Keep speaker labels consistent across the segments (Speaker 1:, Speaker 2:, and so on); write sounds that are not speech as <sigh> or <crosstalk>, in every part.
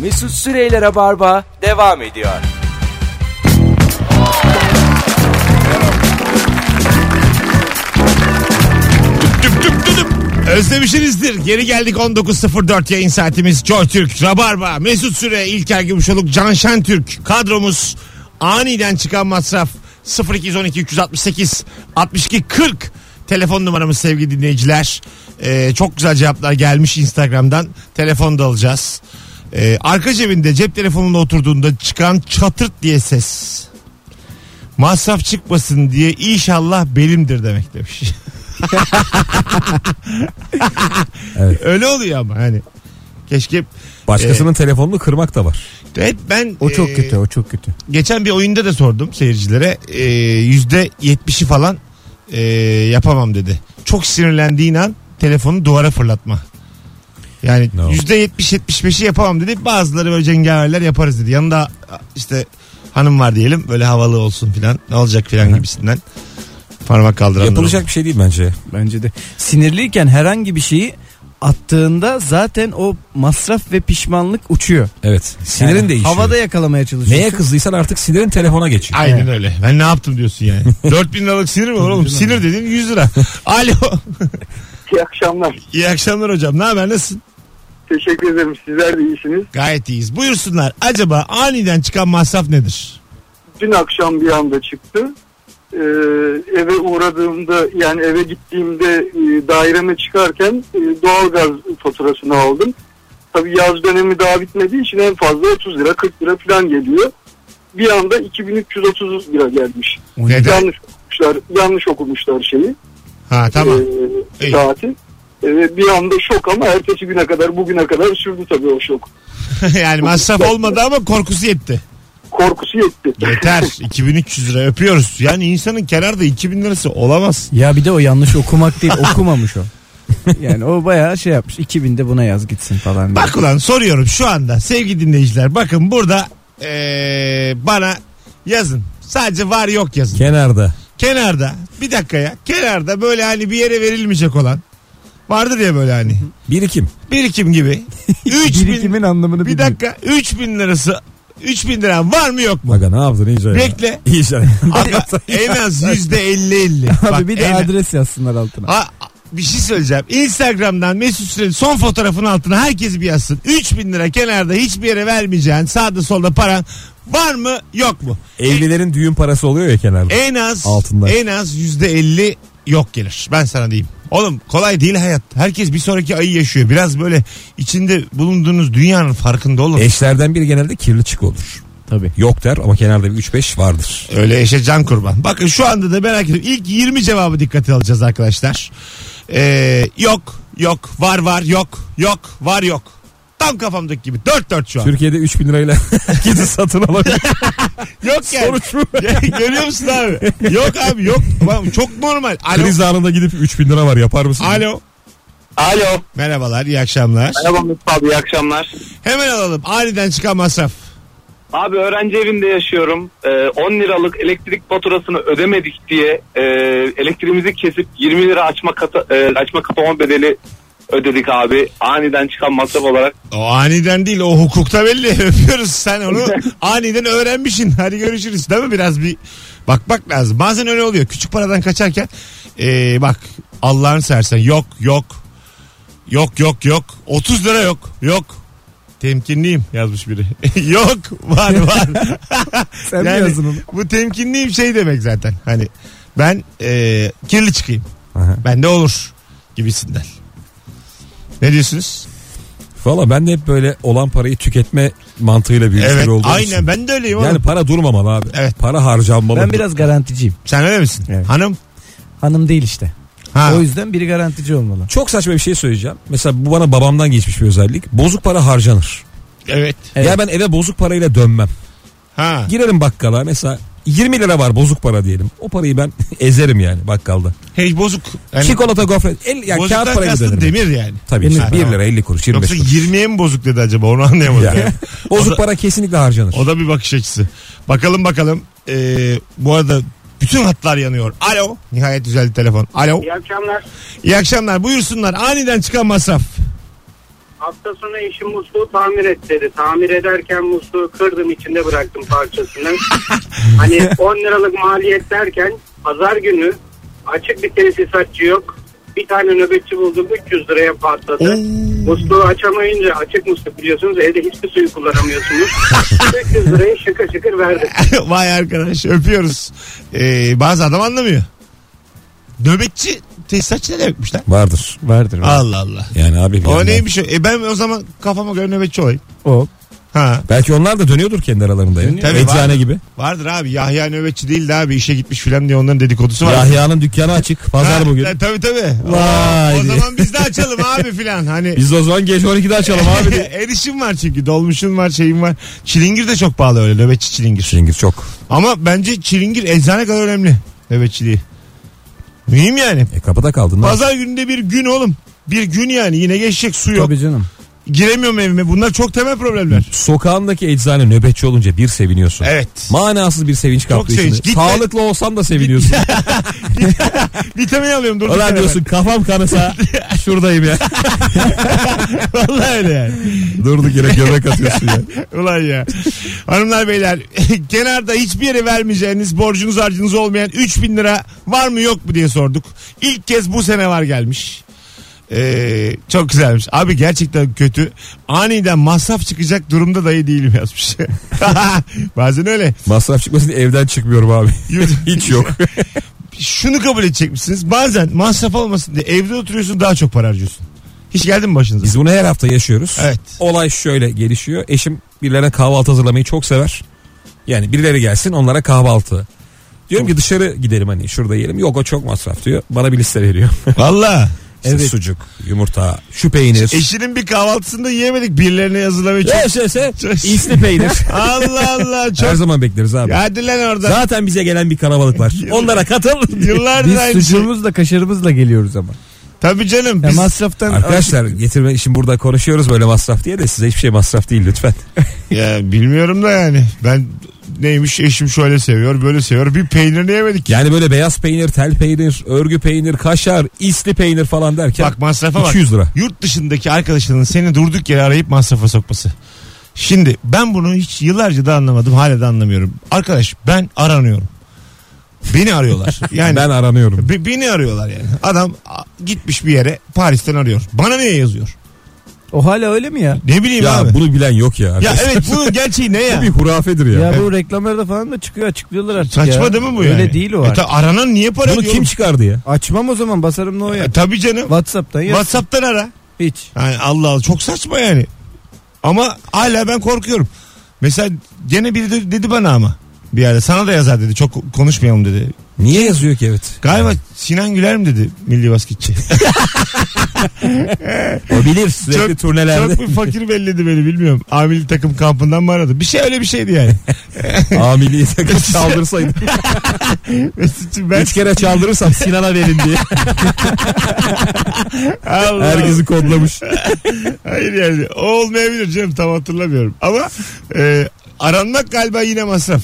Speaker 1: Mesut Süreyler'e barba devam ediyor.
Speaker 2: Tüp tüp tüp. Özlemişsinizdir. Geri geldik 19.04 yayın saatimiz. Joy Türk, Rabarba, Mesut Süre, İlker Gümüşoluk, Can Şentürk kadromuz. Aniden çıkan masraf 0212 368 62 40 telefon numaramız sevgili dinleyiciler. Ee, çok güzel cevaplar gelmiş Instagram'dan. Telefon da alacağız. Ee, arka cebinde cep telefonunda oturduğunda çıkan çatırt diye ses. Masraf çıkmasın diye inşallah belimdir demek demiş. <laughs> Öyle oluyor ama hani. Keşke
Speaker 3: Başkasının telefonunu kırmak da var.
Speaker 2: hep ben
Speaker 4: Ee, O çok
Speaker 2: e,
Speaker 4: kötü o çok kötü.
Speaker 2: geçen bir oyunda da sordum seyircilere E, yüzde yetmişi falan e, yapamam dedi. Çok sinirlendiğin an telefonu duvara fırlatma. Yani
Speaker 3: No.
Speaker 2: yüzde yetmiş yetmiş beşi yapamam dedi. Bazıları böyle cengaverler yaparız dedi. Yanında işte hanım var diyelim böyle havalı olsun filan ne olacak filan gibisinden parmak kaldıran.
Speaker 3: Yapılacak bir şey değil bence.
Speaker 4: Bence de. Sinirliyken herhangi bir şeyi attığında zaten o masraf ve pişmanlık uçuyor.
Speaker 3: Evet. Sinirin
Speaker 4: Yani
Speaker 3: değişiyor.
Speaker 4: Havada yakalamaya çalışıyorsun.
Speaker 3: Neye kızdıysan artık sinirin telefona geçiyor.
Speaker 2: Aynen öyle. Ben ne yaptım diyorsun yani. 4000 liralık sinir mi olur oğlum? Sinir dedin 100 lira. <laughs> Alo.
Speaker 5: İyi akşamlar.
Speaker 2: İyi akşamlar hocam. Ne haber? Nasılsın?
Speaker 5: Teşekkür ederim. Sizler de iyisiniz.
Speaker 2: Gayet iyiyiz. Buyursunlar. Acaba aniden çıkan masraf nedir?
Speaker 5: Dün akşam bir anda çıktı. Ee, eve uğradığımda yani eve gittiğimde e, daireme çıkarken e, doğalgaz faturasını aldım. Tabii yaz dönemi daha bitmediği için en fazla 30 lira 40 lira falan geliyor. Bir anda 2330 lira gelmiş.
Speaker 2: Neden?
Speaker 5: Yanlış okumuşlar, yanlış okumuşlar şeyi.
Speaker 2: Ha tamam.
Speaker 5: e,
Speaker 2: İyi.
Speaker 5: saati. E, bir anda şok ama ertesi güne kadar bugüne kadar sürdü tabii o şok.
Speaker 2: <laughs> yani masraf olmadı ama korkusu yetti.
Speaker 5: Korkusu yetti.
Speaker 2: Yeter. 2300 lira öpüyoruz. Yani insanın kenarda 2000 lirası olamaz.
Speaker 4: Ya bir de o yanlış okumak <laughs> değil okumamış o. Yani o bayağı şey yapmış 2000'de buna yaz gitsin falan. diye.
Speaker 2: Bak ulan soruyorum şu anda sevgili dinleyiciler. Bakın burada ee, bana yazın. Sadece var yok yazın.
Speaker 3: Kenarda.
Speaker 2: kenarda bir dakika ya kenarda böyle hani bir yere verilmeyecek olan vardır ya böyle hani
Speaker 3: Birikim.
Speaker 2: birikim gibi 3000
Speaker 4: Birikimin anlamını
Speaker 2: bir dakika 3000 lirası 3000 liran var mı yok mu?
Speaker 3: Baga ne yaptın iyice. ya.
Speaker 2: Bekle.
Speaker 3: <laughs> İyice.
Speaker 2: Ama en az yüzde elli elli.
Speaker 4: Abi
Speaker 2: Bak
Speaker 4: bir de
Speaker 2: en-
Speaker 4: adres yazsınlar altına.
Speaker 2: Ha, bir şey söyleyeceğim. Instagram'dan Mesut Süre'nin son fotoğrafının altına herkes bir yazsın. 3000 lira kenarda hiçbir yere vermeyeceğin sağda solda paran var mı yok mu?
Speaker 3: Evlilerin düğün parası oluyor ya kenarda.
Speaker 2: En az
Speaker 3: Altınlar.
Speaker 2: en az yüzde elli yok gelir. Ben sana diyeyim. Oğlum kolay değil hayat. Herkes bir sonraki ayı yaşıyor. Biraz böyle içinde bulunduğunuz dünyanın farkında olun.
Speaker 3: Eşlerden biri genelde kirli çık olur.
Speaker 4: Tabii.
Speaker 3: Yok der ama kenarda bir 3-5 vardır.
Speaker 2: Öyle eşe can kurban. Bakın şu anda da merak ediyorum. İlk 20 cevabı dikkate alacağız arkadaşlar. Ee, yok, yok, var var, yok, yok, var yok. Tam kafamdaki gibi. 4-4 şu an.
Speaker 3: Türkiye'de 3000 lirayla <laughs> herkesi satın alabilir.
Speaker 2: yok yani.
Speaker 3: Sonuç bu.
Speaker 2: <laughs> Görüyor musun abi? Yok abi yok. Ulan Çok normal. Alo.
Speaker 3: Kriz anında gidip 3000 lira var yapar mısın?
Speaker 2: Alo.
Speaker 5: Alo.
Speaker 2: Merhabalar, iyi akşamlar.
Speaker 5: Merhaba Mesut abi iyi akşamlar.
Speaker 2: Hemen alalım. Aniden çıkan masraf.
Speaker 5: Abi öğrenci evinde yaşıyorum. Ee, 10 liralık elektrik faturasını ödemedik diye e, elektriğimizi kesip 20 lira açma kata, e, açma kapama bedeli ödedik abi. Aniden çıkan masraf olarak.
Speaker 2: O aniden değil o hukukta belli <laughs> öpüyoruz sen onu aniden öğrenmişsin hadi görüşürüz değil mi biraz bir bakmak lazım bazen öyle oluyor küçük paradan kaçarken ee, bak Allah'ını seversen yok yok yok yok yok 30 lira yok yok temkinliyim yazmış biri <laughs> yok var
Speaker 3: <laughs>
Speaker 2: var
Speaker 4: Sen mi yazdın onu?
Speaker 2: bu temkinliyim şey demek zaten hani ben ee, kirli çıkayım
Speaker 3: Aha.
Speaker 2: bende olur gibisinden ne diyorsunuz?
Speaker 3: Valla ben de hep böyle olan parayı tüketme mantığıyla büyümüşler
Speaker 2: Evet
Speaker 3: olduğum
Speaker 2: aynen
Speaker 3: için.
Speaker 2: ben de öyleyim oğlum.
Speaker 3: Yani para durmamalı abi.
Speaker 2: Evet.
Speaker 3: Para harcanmalı.
Speaker 4: Ben biraz garanticiyim.
Speaker 2: Sen öyle misin?
Speaker 4: Evet.
Speaker 2: Hanım.
Speaker 4: Hanım değil işte.
Speaker 2: Ha.
Speaker 4: O yüzden biri garantici olmalı.
Speaker 3: Çok saçma bir şey söyleyeceğim. Mesela bu bana babamdan geçmiş bir özellik. Bozuk para harcanır.
Speaker 2: Evet.
Speaker 4: Evet.
Speaker 3: Ya ben eve bozuk parayla dönmem.
Speaker 2: Ha.
Speaker 3: Girerim bakkala mesela 20 lira var bozuk para diyelim. O parayı ben <laughs> ezerim yani bakkalda.
Speaker 2: Hey bozuk. Yani,
Speaker 3: Çikolata gofret. El, yani
Speaker 2: Hani bozuktan
Speaker 3: kağıt parayı da
Speaker 2: kastın
Speaker 3: dönerim.
Speaker 2: demir yani.
Speaker 3: Tabii
Speaker 4: Demir.
Speaker 3: işte
Speaker 4: Ha,
Speaker 3: 1
Speaker 2: tamam.
Speaker 3: lira 50 kuruş 25
Speaker 2: Yoksa
Speaker 3: kuruş.
Speaker 2: 20'ye mi bozuk dedi acaba onu anlayamadım.
Speaker 3: Yani.
Speaker 2: yani.
Speaker 3: <laughs> Bozuk para kesinlikle harcanır.
Speaker 2: O da bir bakış açısı. Bakalım bakalım. Ee, bu arada bütün hatlar yanıyor. Alo. Nihayet düzeldi telefon. Alo.
Speaker 5: akşamlar.
Speaker 2: İyi akşamlar. Buyursunlar. Aniden çıkan masraf.
Speaker 6: Hafta sonu eşim musluğu tamir et dedi. Tamir ederken musluğu kırdım içinde bıraktım parçasını. hani 10 liralık maliyet derken pazar günü açık bir tesisatçı yok. Bir tane nöbetçi buldum 300 liraya patladı. musluğu açamayınca açık musluk biliyorsunuz evde hiçbir suyu kullanamıyorsunuz. 300 lirayı şıkır şıkır verdim.
Speaker 2: <laughs> Vay arkadaş öpüyoruz. Ee, bazı adam anlamıyor. Nöbetçi tesisatçı ne demekmiş lan?
Speaker 3: Vardır.
Speaker 4: Vardır.
Speaker 2: Allah Allah.
Speaker 3: Yani abi. bir
Speaker 2: O
Speaker 3: yandan-
Speaker 2: neymiş o? E ben o zaman kafama göre nöbetçi olayım.
Speaker 4: O.
Speaker 2: Ha.
Speaker 3: Belki onlar da dönüyordur kendi aralarında. Ya.
Speaker 2: Tabii,
Speaker 3: Eczane
Speaker 2: var.
Speaker 3: gibi.
Speaker 2: Vardır abi Yahya nöbetçi değil de abi işe gitmiş filan diye onların dedikodusu var.
Speaker 3: Yahya'nın dükkanı açık. Pazar
Speaker 2: Ha,
Speaker 3: bugün.
Speaker 2: e, Tabii tabii.
Speaker 3: Vay
Speaker 2: O
Speaker 3: diye.
Speaker 2: zaman biz de açalım abi filan. Hani
Speaker 3: Biz de o zaman gece 12'de açalım abi
Speaker 2: <laughs>
Speaker 3: diye.
Speaker 2: erişim var çünkü dolmuşun var şeyin var. Çilingir de çok pahalı öyle nöbetçi çilingir.
Speaker 3: Şengir çok.
Speaker 2: Ama bence çilingir eczane kadar önemli nöbetçiliği. Mühim yani.
Speaker 3: E kapıda kaldın. lan.
Speaker 2: Pazar gününde bir gün oğlum. Bir gün yani yine geçecek su yok.
Speaker 4: Tabii canım.
Speaker 2: Giremiyorum evime. Bunlar çok temel problemler.
Speaker 3: Sokağındaki eczane nöbetçi olunca bir seviniyorsun.
Speaker 2: Evet.
Speaker 3: Manasız bir sevinç kaplıyor
Speaker 2: sevinç.
Speaker 3: içinde.
Speaker 2: Git-
Speaker 3: Sağlıklı olsam da seviniyorsun.
Speaker 2: Vitamin alıyorum durduk
Speaker 3: Ulan
Speaker 2: yere
Speaker 3: diyorsun kafam kanasa şuradayım ya.
Speaker 2: bak. <laughs> Vallahi öyle yani.
Speaker 3: <laughs> Durduk yere göbek atıyorsun ya.
Speaker 2: Ulan
Speaker 3: <laughs>
Speaker 2: ya. Hanımlar beyler <laughs> kenarda hiçbir yere vermeyeceğiniz borcunuz harcınız olmayan 3000 lira var mı yok mu diye sorduk. İlk kez bu sene var gelmiş. Ee, çok güzelmiş. Abi gerçekten kötü. Aniden masraf çıkacak durumda dahi değilim yazmış. <laughs> Bazen öyle.
Speaker 3: Masraf çıkmasın diye evden çıkmıyorum abi. <laughs> Hiç yok.
Speaker 2: Şunu kabul edecekmişsiniz. Bazen masraf olmasın diye evde oturuyorsun daha çok para harcıyorsun. Hiç geldi mi başınıza?
Speaker 3: Biz bunu her hafta yaşıyoruz.
Speaker 2: Evet.
Speaker 3: Olay şöyle gelişiyor. Eşim birilerine kahvaltı hazırlamayı çok sever. Yani birileri gelsin onlara kahvaltı. Diyorum ki dışarı gidelim hani şurada yiyelim. Yok o çok masraf diyor. Bana bir liste veriyor.
Speaker 2: Valla.
Speaker 3: İşte Sucuk, yumurta, şu
Speaker 2: <laughs>
Speaker 3: peynir.
Speaker 2: Eşinin bir kahvaltısında yiyemedik. Birilerine
Speaker 3: <laughs>
Speaker 2: hazırlamayı çok...
Speaker 3: Yaşasa
Speaker 2: Çok-
Speaker 3: isli peynir.
Speaker 2: Allah Allah çok
Speaker 3: Her zaman bekleriz abi.
Speaker 2: Hadi lan oradan.
Speaker 3: Zaten bize gelen bir
Speaker 2: <laughs>
Speaker 3: kalabalık var. Onlara katıl.
Speaker 2: Yıllardır
Speaker 4: Biz
Speaker 2: aynı şey.
Speaker 4: sucuğumuzla kaşarımızla geliyoruz ama.
Speaker 2: Tabii canım.
Speaker 4: Ya
Speaker 2: Biz,
Speaker 3: <laughs>
Speaker 4: masraftan
Speaker 3: Arkadaşlar getirme şimdi burada konuşuyoruz böyle masraf diye de size hiçbir şey masraf değil
Speaker 2: <laughs>
Speaker 3: lütfen.
Speaker 2: ya bilmiyorum da yani. Ben neymiş eşim şöyle seviyor böyle seviyor. Bir peynirini yemedik.
Speaker 3: Yani böyle beyaz peynir, tel peynir, örgü peynir, kaşar, isli peynir falan derken
Speaker 2: Bak masrafa bak.
Speaker 3: 200 lira.
Speaker 2: Yurt dışındaki arkadaşının seni durduk yere arayıp masrafa sokması. Şimdi ben bunu hiç yıllarca da anlamadım. Hala da anlamıyorum. Arkadaş ben aranıyorum. Beni
Speaker 3: <laughs>
Speaker 2: arıyorlar. Yani
Speaker 3: ben aranıyorum.
Speaker 2: be- beni arıyorlar yani. Adam a, gitmiş bir yere Paris'ten arıyor. Bana niye yazıyor?
Speaker 4: O hala öyle mi ya?
Speaker 2: Ne bileyim
Speaker 3: Ya
Speaker 2: abi.
Speaker 3: bunu bilen yok ya. <laughs>
Speaker 2: Ya evet bunun gerçeği ne ya?
Speaker 3: Bu bir hurafedir ya.
Speaker 4: Ya bu reklamlarda falan da çıkıyor açıklıyorlar artık
Speaker 2: Saçma
Speaker 4: ya.
Speaker 2: değil mi bu
Speaker 4: öyle
Speaker 2: yani?
Speaker 4: Öyle değil o
Speaker 2: E
Speaker 4: artık.
Speaker 2: ta- aranan niye para
Speaker 3: Bunu
Speaker 2: ediyor
Speaker 3: kim
Speaker 2: oğlum?
Speaker 3: çıkardı ya?
Speaker 4: Açmam o zaman basarım ne o ya.
Speaker 2: E, tabii canım.
Speaker 4: Whatsapp'tan ya.
Speaker 2: Whatsapp'tan ara. <laughs>
Speaker 4: Hiç.
Speaker 2: Yani Allah Allah çok saçma yani. Ama hala ben korkuyorum. Mesela gene biri de- dedi bana ama bir yerde sana da yazar dedi. Çok konuşmayalım dedi.
Speaker 3: Niye yazıyor ki evet?
Speaker 2: Galiba Sinan Güler mi dedi milli basketçi.
Speaker 3: O bilir <laughs> sürekli
Speaker 2: Çok-
Speaker 3: turnelerde.
Speaker 2: çok bir fakir belledi beni bilmiyorum. Amili takım kampından mı aradı? Bir şey öyle bir şeydi
Speaker 3: <laughs>
Speaker 2: yani.
Speaker 3: Amiliyi <laughs> sakın çaldırsaydı.
Speaker 2: Mesut'cum ben
Speaker 3: Üç kere çaldırırsam Sinan'a verin
Speaker 2: <laughs>
Speaker 3: diye.
Speaker 2: Allah.
Speaker 3: Herkesi kodlamış.
Speaker 2: Hayır yani o olmayabilir canım tam hatırlamıyorum. Ama e, aranmak galiba yine masraf.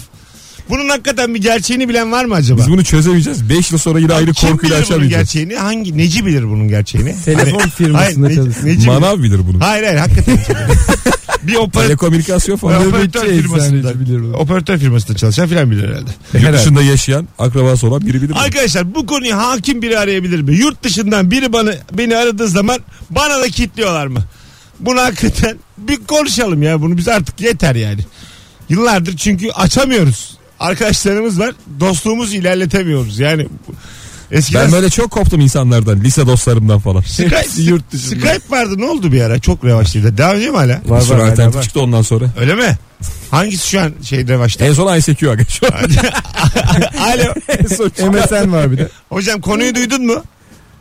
Speaker 2: Bunun hakikaten bir gerçeğini bilen var mı acaba?
Speaker 3: Biz bunu çözemeyeceğiz. Beş yıl sonra yine aynı
Speaker 2: Kim
Speaker 3: korkuyla
Speaker 2: bilir bunun
Speaker 3: açamayacağız.
Speaker 2: gerçeğini? Hangi neci bilir bunun gerçeğini? Hani,
Speaker 4: Telefon firmasında
Speaker 2: Hayır,
Speaker 4: çalışsın.
Speaker 2: Neci, neci bilir?
Speaker 3: Manav bilir bunu.
Speaker 2: Hayır hayır hakikaten. <laughs> bir operatör,
Speaker 3: Telekomünikasyon falan.
Speaker 2: operatör
Speaker 4: Nöbetçi
Speaker 2: firmasında
Speaker 4: eczaneci bilir bunu.
Speaker 2: operatör firmasında çalışan filan bilir herhalde.
Speaker 3: Yurt dışında yaşayan akrabası olan biri bilir. bunu.
Speaker 2: Arkadaşlar bu konuyu hakim biri arayabilir mi? Yurt dışından biri bana beni aradığı zaman bana da kilitliyorlar mı? Bunu hakikaten bir konuşalım ya bunu biz artık yeter yani. Yıllardır çünkü açamıyoruz. Arkadaşlarımız var. Dostluğumuzu ilerletemiyoruz. Yani eskiden
Speaker 3: Ben böyle çok koptum insanlardan. Lise dostlarımdan falan.
Speaker 2: Skype, Skype vardı ne oldu bir ara? Çok revaçlıydı. Devam ediyor mu hala?
Speaker 3: Bir
Speaker 4: Var
Speaker 3: sürü
Speaker 4: var hala
Speaker 3: alternatif
Speaker 4: var.
Speaker 3: çıktı ondan sonra.
Speaker 2: Öyle mi? Hangisi şu an şey revaçta?
Speaker 4: E,
Speaker 3: En son ICQ <laughs> arkadaşlar.
Speaker 2: <laughs> Alo.
Speaker 4: MSN var bir de.
Speaker 2: Hocam konuyu duydun mu?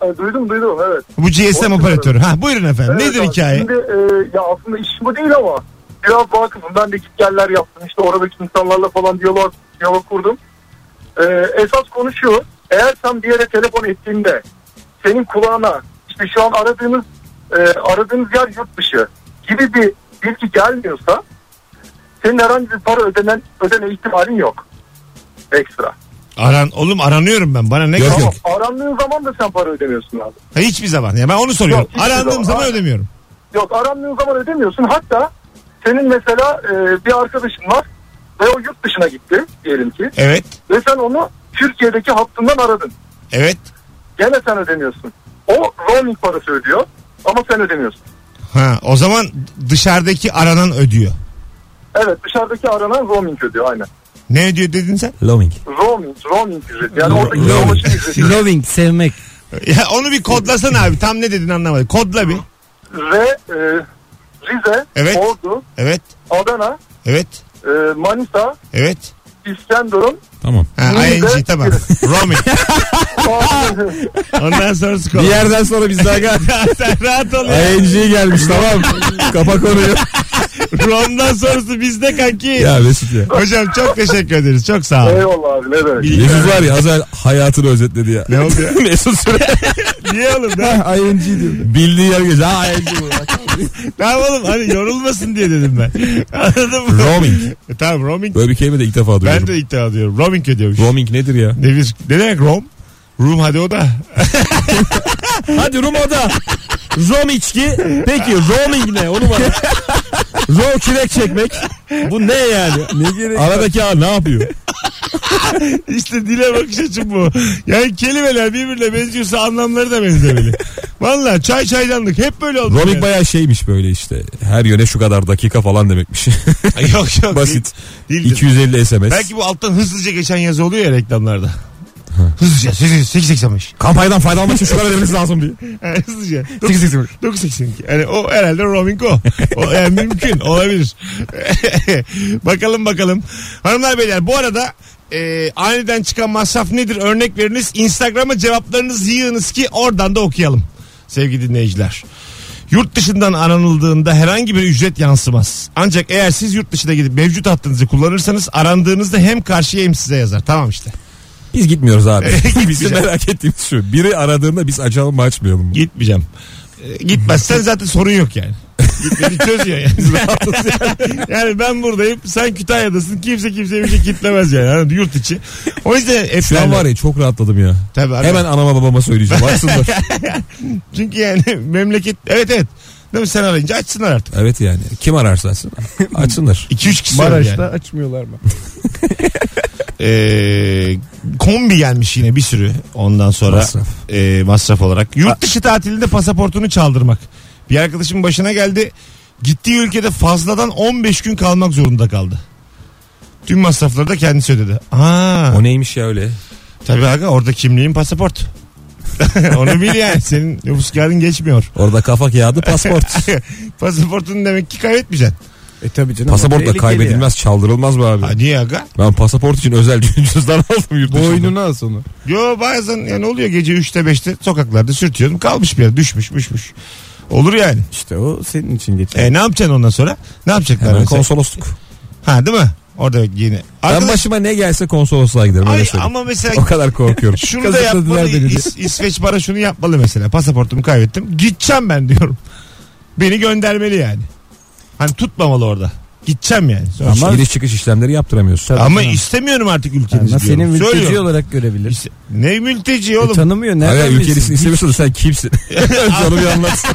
Speaker 5: E, duydum duydum evet.
Speaker 2: Bu GSM operatörü. Ha buyurun efendim.
Speaker 5: Evet
Speaker 2: Nedir
Speaker 5: abi,
Speaker 2: hikaye?
Speaker 5: Şimdi e, ya aslında işim bu değil ama biraz vakıfım. Ben de git geller yaptım. İşte oradaki insanlarla falan diyalog, diyalog kurdum. E, esas konu şu. Eğer sen bir yere telefon ettiğinde senin kulağına işte şu an aradığınız e, aradığınız yer yurt dışı gibi bir bilgi gelmiyorsa senin herhangi bir para ödenen ödeme ihtimalin yok. Ekstra.
Speaker 2: Aran, oğlum aranıyorum ben. Bana ne
Speaker 3: Yok,
Speaker 2: kaldı?
Speaker 3: yok.
Speaker 5: Arandığın zaman da sen para ödemiyorsun abi.
Speaker 2: Ha, hiçbir zaman. Ya ben onu soruyorum.
Speaker 5: Yok, hiçbir
Speaker 2: Arandığım
Speaker 5: zaman.
Speaker 2: zaman
Speaker 5: Aynen.
Speaker 2: ödemiyorum.
Speaker 5: Yok arandığın zaman ödemiyorsun. Hatta senin mesela e, bir arkadaşın var ve o yurt dışına gitti diyelim ki.
Speaker 2: Evet.
Speaker 5: Ve sen onu Türkiye'deki hattından aradın.
Speaker 2: Evet.
Speaker 5: Gene sen ödemiyorsun. O roaming parası ödüyor ama sen ödemiyorsun.
Speaker 2: Ha, o zaman dışarıdaki aranan ödüyor.
Speaker 5: Evet dışarıdaki aranan roaming ödüyor aynen.
Speaker 2: Ne ödüyor dedin sen? <laughs>
Speaker 3: Roaming.
Speaker 5: Roaming, roaming ücreti. Yani
Speaker 4: Lo-
Speaker 5: oradaki
Speaker 4: lo-
Speaker 5: dolaşım ücreti.
Speaker 4: Loving sevmek.
Speaker 2: Ya onu bir kodlasana abi. Tam ne dedin anlamadım. Kodla bir.
Speaker 5: Ve e, Rize,
Speaker 2: Evet.
Speaker 5: Ordu,
Speaker 2: Evet.
Speaker 5: Adana,
Speaker 2: Evet.
Speaker 5: e, Manisa,
Speaker 2: Evet.
Speaker 5: İskenderun.
Speaker 3: Tamam.
Speaker 2: Ha,
Speaker 5: Bunu da-
Speaker 2: ING tamam. Roaming.
Speaker 5: <laughs>
Speaker 2: Ondan sonrası kod. <laughs>
Speaker 3: Bir yerden sonra biz daha gel.
Speaker 2: Sen rahat ol ya.
Speaker 3: ING gelmiş tamam. Kapa konuyu.
Speaker 2: Rom'dan sonrası bizde kanki.
Speaker 3: <laughs> ya Mesut ya.
Speaker 2: Hocam çok teşekkür ederiz. Çok sağ ol.
Speaker 5: Eyvallah abi ne demek.
Speaker 3: Mesut var ya az evvel hayatını özetledi ya.
Speaker 2: Ne oldu ya?
Speaker 3: <laughs> Mesut <laughs> Süre.
Speaker 2: Niye oğlum? Ne,
Speaker 3: ING diyor. Bildiği yer geç. Ha ING bu.
Speaker 2: ne yapalım? Hani yorulmasın diye dedim ben. <laughs> Anladın mı?
Speaker 3: Roaming.
Speaker 2: E, tamam roaming.
Speaker 3: Böyle bir kelime de ilk defa duyuyorum.
Speaker 2: Ben de iddia ediyorum. Roaming ödüyormuş.
Speaker 3: Roaming nedir ya?
Speaker 2: Ne, bir, ne demek rom? Room hadi o da.
Speaker 3: Hadi Rum oda. Rom içki. Peki roaming ne? Onu bana. Rom kürek çekmek. Bu ne yani?
Speaker 4: <laughs>
Speaker 3: Ne gerek Aradaki ağ ne yapıyor?
Speaker 2: <laughs> İşte dile bakış açım bu. Yani kelimeler birbirine benziyorsa anlamları da
Speaker 3: <laughs>
Speaker 2: benzemeli. Valla çay çaydanlık hep böyle oldu.
Speaker 3: Roaming
Speaker 2: yani.
Speaker 3: bayağı şeymiş böyle işte. Her yöne şu kadar dakika falan demekmiş.
Speaker 2: <laughs> yok yok.
Speaker 3: Basit.
Speaker 2: Değil, değildir.
Speaker 3: 250 SMS.
Speaker 2: Belki bu alttan hızlıca geçen yazı oluyor ya reklamlarda. Hızlıca 885.
Speaker 3: Kampanyadan faydalanmak için şu kadar ödemeniz lazım diye.
Speaker 2: Yani hızlıca. 982. 982. Yani o herhalde roaming o. o yani mümkün olabilir. <laughs> bakalım bakalım. Hanımlar beyler bu arada e, aniden çıkan masraf nedir? Örnek veriniz. Instagram'a cevaplarınızı yığınız ki oradan da okuyalım. Sevgili dinleyiciler. Yurt dışından aranıldığında herhangi bir ücret yansımaz. Ancak eğer siz yurt dışına gidip mevcut hattınızı kullanırsanız arandığınızda hem karşıya hem size yazar. Tamam işte.
Speaker 3: Biz gitmiyoruz <laughs> abi. Bizim
Speaker 2: Gitmeyeceğim.
Speaker 3: merak ettiğimiz şu. Biri aradığında biz acaba mı açmayalım?
Speaker 2: Gitmeyeceğim. Ee,
Speaker 3: <laughs>
Speaker 2: Gitmezsen zaten sorun yok yani. Gitmeni çözüyor yani. yani ben buradayım sen Kütahya'dasın kimse kimseye bir şey kitlemez yani. Anladın mı? yurt içi. O yüzden hep
Speaker 3: Şu an var ya çok rahatladım ya.
Speaker 2: Tabii abi.
Speaker 3: Hemen anama babama söyleyeceğim. <laughs> Açsınlar.
Speaker 2: Çünkü yani <laughs> memleket evet evet. Değil mi sen arayınca açsınlar artık.
Speaker 3: evet yani. Kim ararsa açsın. Açsınlar.
Speaker 2: 2-3 kişi var
Speaker 4: Maraş'ta
Speaker 2: yani.
Speaker 4: açmıyorlar mı?
Speaker 2: Ee, kombi gelmiş yine bir sürü ondan sonra masraf.
Speaker 3: Masraf.
Speaker 2: masraf olarak. Yurt dışı tatilinde pasaportunu çaldırmak. Bir arkadaşımın başına geldi. Gittiği ülkede fazladan 15 gün kalmak zorunda kaldı. Tüm masrafları da kendisi ödedi. Aa,
Speaker 3: O neymiş ya öyle?
Speaker 2: tabii aga orada kimliğin pasaport. <laughs> Onu bil yani senin nüfus kağıdın geçmiyor. <laughs>
Speaker 3: Orada kafa kağıdı pasport.
Speaker 2: Pasaportunu demek ki kaybetmeyeceksin.
Speaker 4: E tabii canım.
Speaker 3: Pasaport da
Speaker 4: Tehlikeli
Speaker 3: kaybedilmez çaldırılmaz mı abi?
Speaker 2: Ha, niye aga?
Speaker 3: Ben pasaport için özel <laughs> cüzdan aldım yurt
Speaker 4: ya.
Speaker 3: dışında.
Speaker 4: Boynuna as onu.
Speaker 2: Yo bazen yani oluyor gece 3'te 5'te sokaklarda sürtüyorum kalmış bir yere düşmüş müşmüş. Olur yani.
Speaker 4: İşte o senin için geçer.
Speaker 2: E ne yapacaksın ondan sonra? Ne yapacaklar
Speaker 3: Hemen
Speaker 2: mesela?
Speaker 3: konsolosluk.
Speaker 2: Ha değil mi? Orada yine.
Speaker 3: Ben başıma ne gelse konsolosluğa giderim öyle
Speaker 2: Ay,
Speaker 3: söyleyeyim.
Speaker 2: ama
Speaker 3: O
Speaker 2: mesela
Speaker 3: kadar korkuyorum.
Speaker 2: şunu da yapmalı. İs- İsveç bana şunu yapmalı mesela. Pasaportumu kaybettim. Gideceğim ben diyorum. Beni göndermeli yani. Hani tutmamalı orada. Gideceğim yani. Sonra-
Speaker 3: Ama...
Speaker 4: Ama-
Speaker 3: Giriş çıkış işlemleri yaptıramıyorsun.
Speaker 4: Tabii
Speaker 2: Ama
Speaker 4: canım.
Speaker 2: istemiyorum artık ülkenizi
Speaker 4: Ama seni
Speaker 2: diyorum.
Speaker 4: mülteci
Speaker 2: Söylüyorum.
Speaker 4: olarak görebilir.
Speaker 2: İşte- ne mülteci
Speaker 4: E,
Speaker 2: oğlum?
Speaker 4: tanımıyor.
Speaker 3: Hayır,
Speaker 4: Nereden
Speaker 3: ülkesini
Speaker 4: bilsin?
Speaker 3: istemiyorsan sen kimsin? <laughs> Önce onu bir anlat.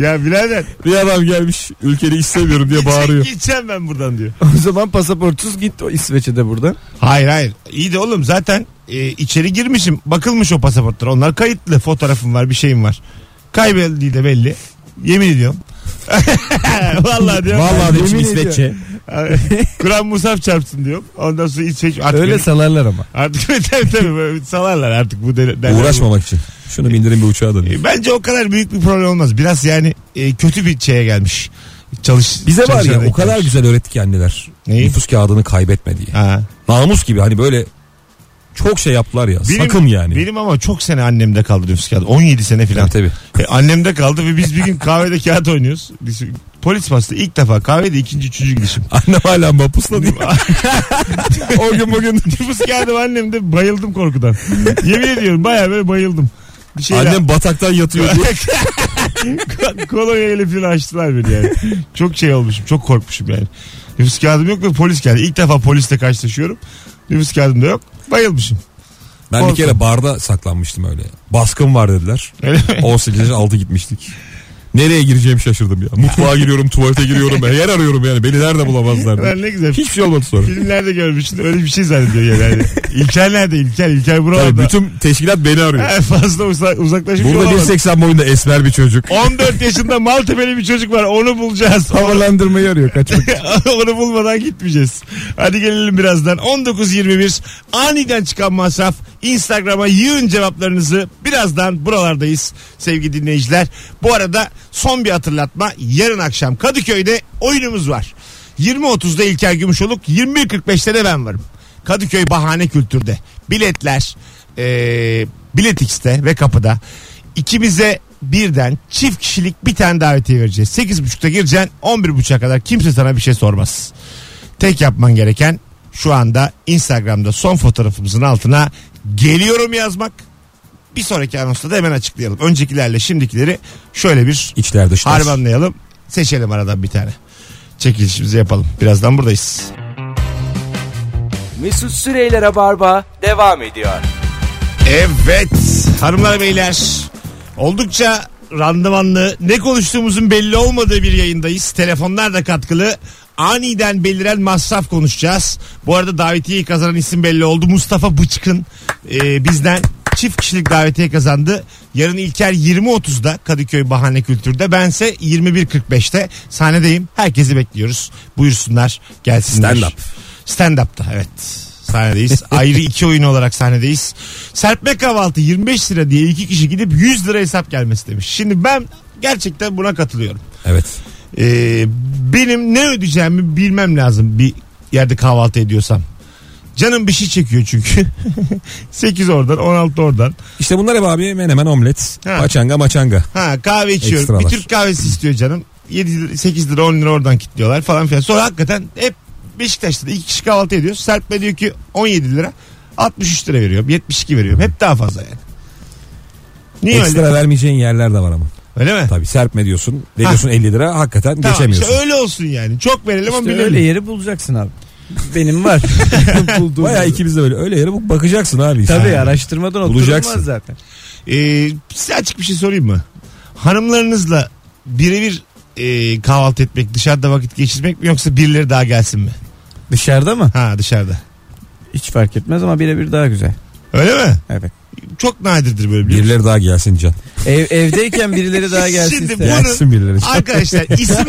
Speaker 2: ya birader.
Speaker 3: Bir adam gelmiş ülkeni istemiyorum diye bağırıyor.
Speaker 2: Gideceğim ben buradan diyor.
Speaker 4: <laughs> O zaman pasaportsuz git o İsveç'e de buradan.
Speaker 2: Hayır hayır. İyi de oğlum zaten e, içeri girmişim. Bakılmış o pasaportlara. Onlar kayıtlı. Fotoğrafım var bir şeyim var. Kaybedildiği de belli. Yemin ediyorum. <laughs> Vallahi diyorum.
Speaker 3: Vallahi
Speaker 4: Yemin
Speaker 3: demişim
Speaker 4: ediyorum.
Speaker 3: İsveççe.
Speaker 2: Kur'an Musaf çarpsın diyorum. Ondan sonra İsveç artık
Speaker 4: Öyle
Speaker 2: beni-
Speaker 4: salarlar ama.
Speaker 2: artık beni- <laughs> tabii tabii böyle salarlar artık bu dene- dene-
Speaker 3: Uğraşmamak için. Şunu bindirin bir uçağa da.
Speaker 2: E, Bence o kadar büyük bir problem olmaz. Biraz yani e, kötü bir şeye gelmiş. Çalış
Speaker 3: Bize var
Speaker 2: çalışan
Speaker 3: ya o kadar
Speaker 2: ekip.
Speaker 3: güzel öğretti kendiler.
Speaker 2: Neyi?
Speaker 3: Nüfus kağıdını kaybetme diye.
Speaker 2: Ha.
Speaker 3: Namus gibi hani böyle çok şey yaptılar ya.
Speaker 2: Benim-
Speaker 3: sakın yani.
Speaker 2: Benim ama çok sene annemde kaldı nüfus kağıdı. 17 sene
Speaker 3: Tabii,
Speaker 2: filan.
Speaker 3: tabii.
Speaker 2: E, annemde kaldı ve biz bir gün kahvede kağıt oynuyoruz. Biz- Polis bastı ilk defa kahvede ikinci üçüncü gidişim.
Speaker 3: Annem hala mapusla diyor. <laughs> o gün bugün.
Speaker 2: <laughs> Nüfus kağıdı annemde bayıldım korkudan. Yemin ediyorum baya böyle bayıldım. Bir şeyler...
Speaker 3: Annem bataktan yatıyor
Speaker 2: <laughs>
Speaker 3: diye.
Speaker 2: Kolonya ile filan açtılar beni yani. Çok şey olmuşum çok korkmuşum yani. Nüfus kağıdım yok ve polis geldi. İlk defa polisle karşılaşıyorum. Nüfus kağıdım da yok. Bayılmışım.
Speaker 3: Ben bir kere barda saklanmıştım öyle. Baskın var dediler.
Speaker 2: Öyle mi?
Speaker 3: 18 yaş altı gitmiştik. Nereye gireceğim şaşırdım ya. Mutfağa giriyorum, tuvalete giriyorum. Yer arıyorum yani. Beni nerede bulamazlar. diye.
Speaker 2: Ben ne güzel.
Speaker 3: Hiçbir şey olmadı sonra.
Speaker 2: Filmlerde görmüştün öyle bir şey zannediyor yani. İlker nerede İlker? İlker
Speaker 3: Tabii
Speaker 2: buralarda.
Speaker 3: bütün teşkilat beni arıyor.
Speaker 2: En <laughs> fazla uza- uzaklaşmış
Speaker 3: Burada
Speaker 2: olamadı.
Speaker 3: 1.80 boyunda esmer bir çocuk.
Speaker 2: 14 yaşında Maltepe'li bir çocuk var onu bulacağız.
Speaker 3: Havalandırmayı arıyor kaçmak.
Speaker 2: <laughs> Onu bulmadan gitmeyeceğiz. Hadi gelelim birazdan. 19.21 aniden çıkan masraf. Instagram'a yığın cevaplarınızı. Birazdan buralardayız sevgili dinleyiciler. Bu arada son bir hatırlatma. Yarın akşam Kadıköy'de oyunumuz var. 20.30'da İlker Gümüşoluk, 21.45'te de ben varım. Kadıköy Bahane Kültür'de. Biletler eee Bilet X'te ve kapıda. İkimize birden çift kişilik bir tane davetiye vereceğiz. 8.30'da gireceksin 11.30'a kadar kimse sana bir şey sormaz. Tek yapman gereken şu anda Instagram'da son fotoğrafımızın altına geliyorum yazmak. Bir sonraki anonsta da hemen açıklayalım. Öncekilerle şimdikileri şöyle bir
Speaker 3: İçler dışlar.
Speaker 2: harmanlayalım. Seçelim aradan bir tane. Çekilişimizi yapalım. Birazdan buradayız.
Speaker 1: Mesut Süreyler'e barba devam ediyor.
Speaker 2: Evet hanımlar beyler oldukça randımanlı ne konuştuğumuzun belli olmadığı bir yayındayız. Telefonlar da katkılı. Aniden beliren masraf konuşacağız. Bu arada davetiyeyi kazanan isim belli oldu. Mustafa Bıçkın e, bizden çift kişilik davetiye kazandı. Yarın İlker 20.30'da Kadıköy Bahane Kültür'de. Bense 21.45'te sahnedeyim. Herkesi bekliyoruz. Buyursunlar gelsinler.
Speaker 3: Stand up.
Speaker 2: Stand-up'ta evet. Sahnedeyiz. Ayrı iki oyun olarak sahnedeyiz. Serpme kahvaltı 25 lira diye iki kişi gidip 100 lira hesap gelmesi demiş. Şimdi ben gerçekten buna katılıyorum.
Speaker 3: Evet.
Speaker 2: Ee, benim ne ödeyeceğimi bilmem lazım bir yerde kahvaltı ediyorsam. Canım bir şey çekiyor çünkü. <laughs> 8 oradan 16 oradan.
Speaker 3: İşte bunlar hep abi hemen hemen omlet.
Speaker 2: Ha.
Speaker 3: Paçanga maçanga.
Speaker 2: Ha kahve içiyorum.
Speaker 3: Ekstralar.
Speaker 2: Bir Türk kahvesi istiyor canım. 7 lira, 8 lira 10 lira oradan kilitliyorlar falan filan. Sonra hakikaten hep Beşiktaş'ta da iki kişi kahvaltı ediyoruz. Serpme diyor ki 17 lira 63 lira veriyorum 72 veriyorum. Hep daha fazla yani. Niye
Speaker 3: Ekstra
Speaker 2: öyle?
Speaker 3: vermeyeceğin yerler de var ama.
Speaker 2: Öyle mi?
Speaker 3: Tabii serpme diyorsun. Veriyorsun 50 lira hakikaten
Speaker 2: Ah. Tamam,
Speaker 3: geçemiyorsun.
Speaker 2: işte öyle olsun yani. Çok verelim ama
Speaker 4: İşte
Speaker 2: bilelim.
Speaker 4: öyle yeri bulacaksın abi.
Speaker 2: <laughs>
Speaker 4: Benim var. Bulduğum.
Speaker 3: Bayağı ikimiz de öyle. Öyle yere bak- bakacaksın abi.
Speaker 4: Tabii
Speaker 3: Ha.
Speaker 4: araştırmadan
Speaker 3: Bulacaksın.
Speaker 4: oturulmaz zaten.
Speaker 2: Ee, size açık bir şey sorayım mı? Hanımlarınızla birebir e, kahvaltı etmek, dışarıda vakit geçirmek mi yoksa birileri daha gelsin mi?
Speaker 4: Dışarıda mı?
Speaker 2: Ha dışarıda.
Speaker 4: Hiç fark etmez ama birebir daha güzel.
Speaker 2: Öyle mi?
Speaker 4: Evet.
Speaker 2: Çok nadirdir böyle biliyor
Speaker 3: Birileri daha gelsin Can.
Speaker 2: <laughs>
Speaker 4: Ev, evdeyken birileri daha gelsin
Speaker 2: Şimdi
Speaker 4: ister.
Speaker 2: Bunu-
Speaker 3: Gelsin birileri.
Speaker 2: Arkadaşlar isim